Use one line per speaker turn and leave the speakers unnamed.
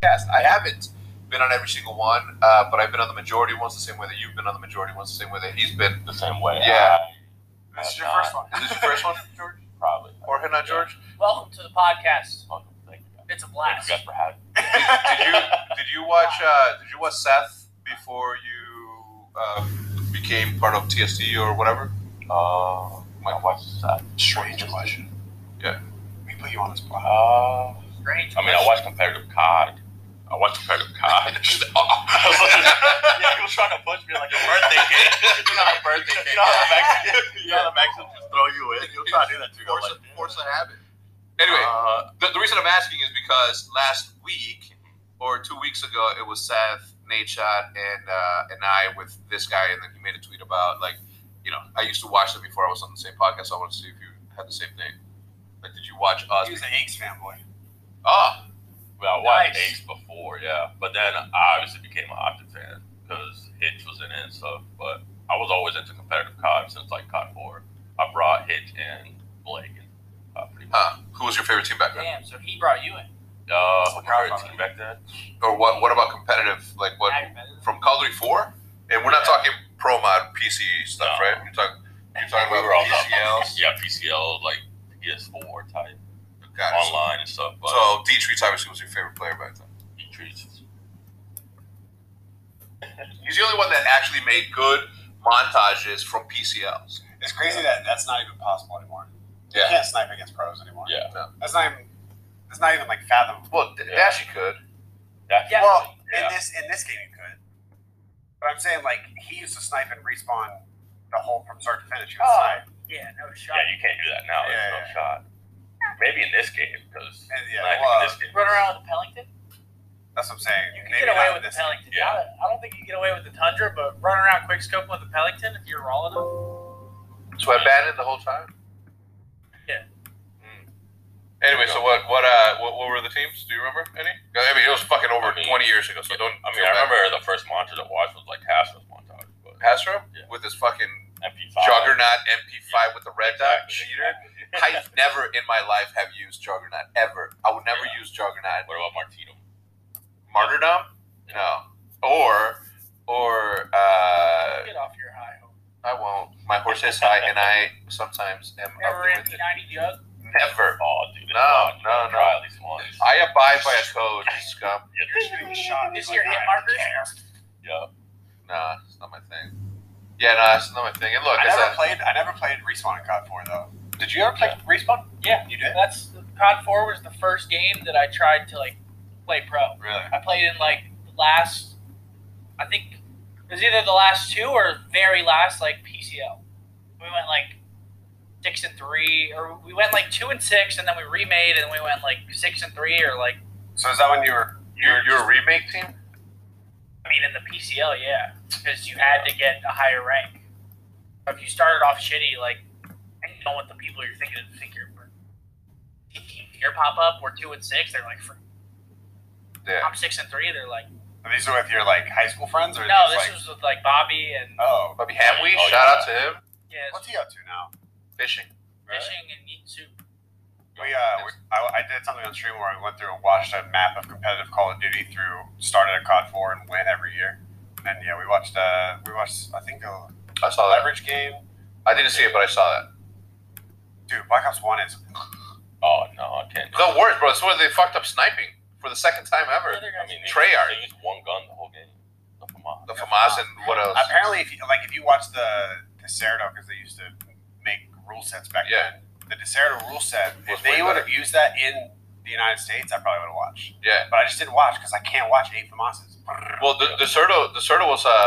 podcast. I haven't been on every single one, uh, but I've been on the majority ones the same way that you've been on the majority ones the same way that he's been.
the same way.
Yeah.
I
This
have
is your
not.
first one.
Is this your first one, George?
Probably.
Or him, not George?
Welcome to the podcast.
Welcome. Thank you. guys.
It's a
Thank
blast.
you guys for having me.
Did, did you did you watch uh, did you watch Seth before you uh, became part of TSD or whatever?
Uh, my wife's side.
Strange question.
Yeah.
We put you on
Uh,
the spot.
I
Strange.
mean, I watched competitive COD. I watched competitive COD. uh, I was like- yeah, he was trying to push me like a birthday cake. You know how birthday cake. You know how the Mexicans, you know how the Mexicans just throw you in. He was trying to do that to you. I was
Force,
like,
a, force a habit. Anyway,
uh,
the, the reason I'm asking is because last week or two weeks ago, it was Seth, Nate Shot, and uh, and I with this guy, and then he made a tweet about like, you know, I used to watch them before I was on the same podcast. So I want to see if you had the same thing. Like, did you watch us?
He was an Yanks fanboy.
Ah,
well, I watched
Nice.
Ace before, yeah, but then I obviously became an Optic fan because Hitch was in it and stuff. But I was always into competitive COD since like COD four. I brought Hitch and Blake and uh, pretty much.
huh. Who was your favorite team back then?
Damn, so he brought you in.
Uh,
Proud
Pirates
about it.
came back then.
Or what? What about competitive? Like, what
I remember.
from Call of Duty Four? And we're not talking pro mod PC stuff,
No.
right? You're talking. You're talking about
were all
PCLs.
Yeah, PCL like PS4 type
Got it.
online and stuff. But
So Dietrich obviously was your favorite player back then.
he treats
He's the only one that actually made good montages from PCLs.
It's crazy that that's not even possible anymore. You
Yeah.
can't snipe against pros anymore.
yeah.
That's not even. That's not even like fathom.
Well, D-
Yeah.
Dash he could.
That's
Yeah.
Well,
yeah.
in this in this game you could, but I'm saying like he used to snipe and respawn the whole from start to finish. He would
Oh.
snipe.
Yeah, no shot.
yeah, you can't do that now. There's
Yeah,
no
yeah.
shot. Maybe in this game because
And, yeah,
in
well,
this game
Run around with the Pellington?
That's what I'm saying.
You can
Maybe
get away
not
with the
this
Pellington.
Yeah.
I, don't, I don't think you get away with the Tundra, but run around quickscope with the Pellington if you're rolling them.
So I banned it the whole time.
Yeah.
Mm. Anyway, so what? What? Uh, what, what were the teams? Do you remember any? I mean, it was fucking over
I mean-
20 years ago, so don't.
I mean,
feel
I
bad.
remember the first montage I watched was like Castro's montage, but
Hasbro
Yeah.
with his fucking
MP5.
juggernaut MP5 with the red dot
Exactly.
cheater. I've never in my life have used juggernaut ever. I would never
Yeah.
use juggernaut.
What about Martino?
Martyrdom? No. Or, or uh,
Get off your high horse.
I won't. My horse is high, and I sometimes am
Ever
ugly with it.
MP90 jug?
Never.
Oh, dude, it's
No,
fun. You
no,
gotta
no.
Try at least once.
I abide by a code, scum.
Yeah,
You're shooting shots.
Is
like,
your hit
I don't
markers?
care.
yeah.
Nah, it's not my thing. Yeah, nah, it's not my thing. And look,
I
it's
never
a-
played. I never played respawn in COD Four though. Did you ever play respawn?
Yeah.
You did.
That's COD 4 was the first game that I tried to like play pro.
Really?
I played in like the last, I think it was either the last two or very last like PCL. We went like six and three, or we went like two and six, and then we remade, and we went like six and three, or like
So is that when you were?
you're, you're a remake team?
I mean in the PCL, yeah, because you had to get a higher rank. If you started off shitty, like I don't know what the people you're thinking of think you're. Your pop up, we're two and six. They're like, "Fr-
Yeah.
I'm six and three. They're like,
Are these with your like high school friends or?
no,
these,
this
like,
was with like Bobby and
Oh.
Bobby Hamwe,
Oh,
shout
yeah.
out to him.
yeah, it's
What's he up to now?
Fishing.
fishing and eat soup.
We, uh, we, I, I did something on stream where I went through and watched a map of competitive Call of Duty through, started at COD 4 and win every year. And then, yeah, we watched, uh, we watched, I think, a
I saw that.
leverage game.
I didn't see it, but I saw that.
Dude, Black Ops 1 is,
Oh no, I can't.
The worst, bro. That's where they fucked up sniping for the second time ever.
Other
I
guys-
mean, they,
Treyarch.
They used one gun the whole game. Oh, The FAMAS.
The FAMAS and what else?
apparently, if you, like, if you watch the Deserto, because they used to make rule sets back
Yeah.
then, the Deserto rule set,
Was
if
way
they would
better.
have used that in the United States, I probably would have watched.
Yeah.
But I just didn't watch because I can't watch eight FAMASs.
Well, the, the Certo, the Certo was uh,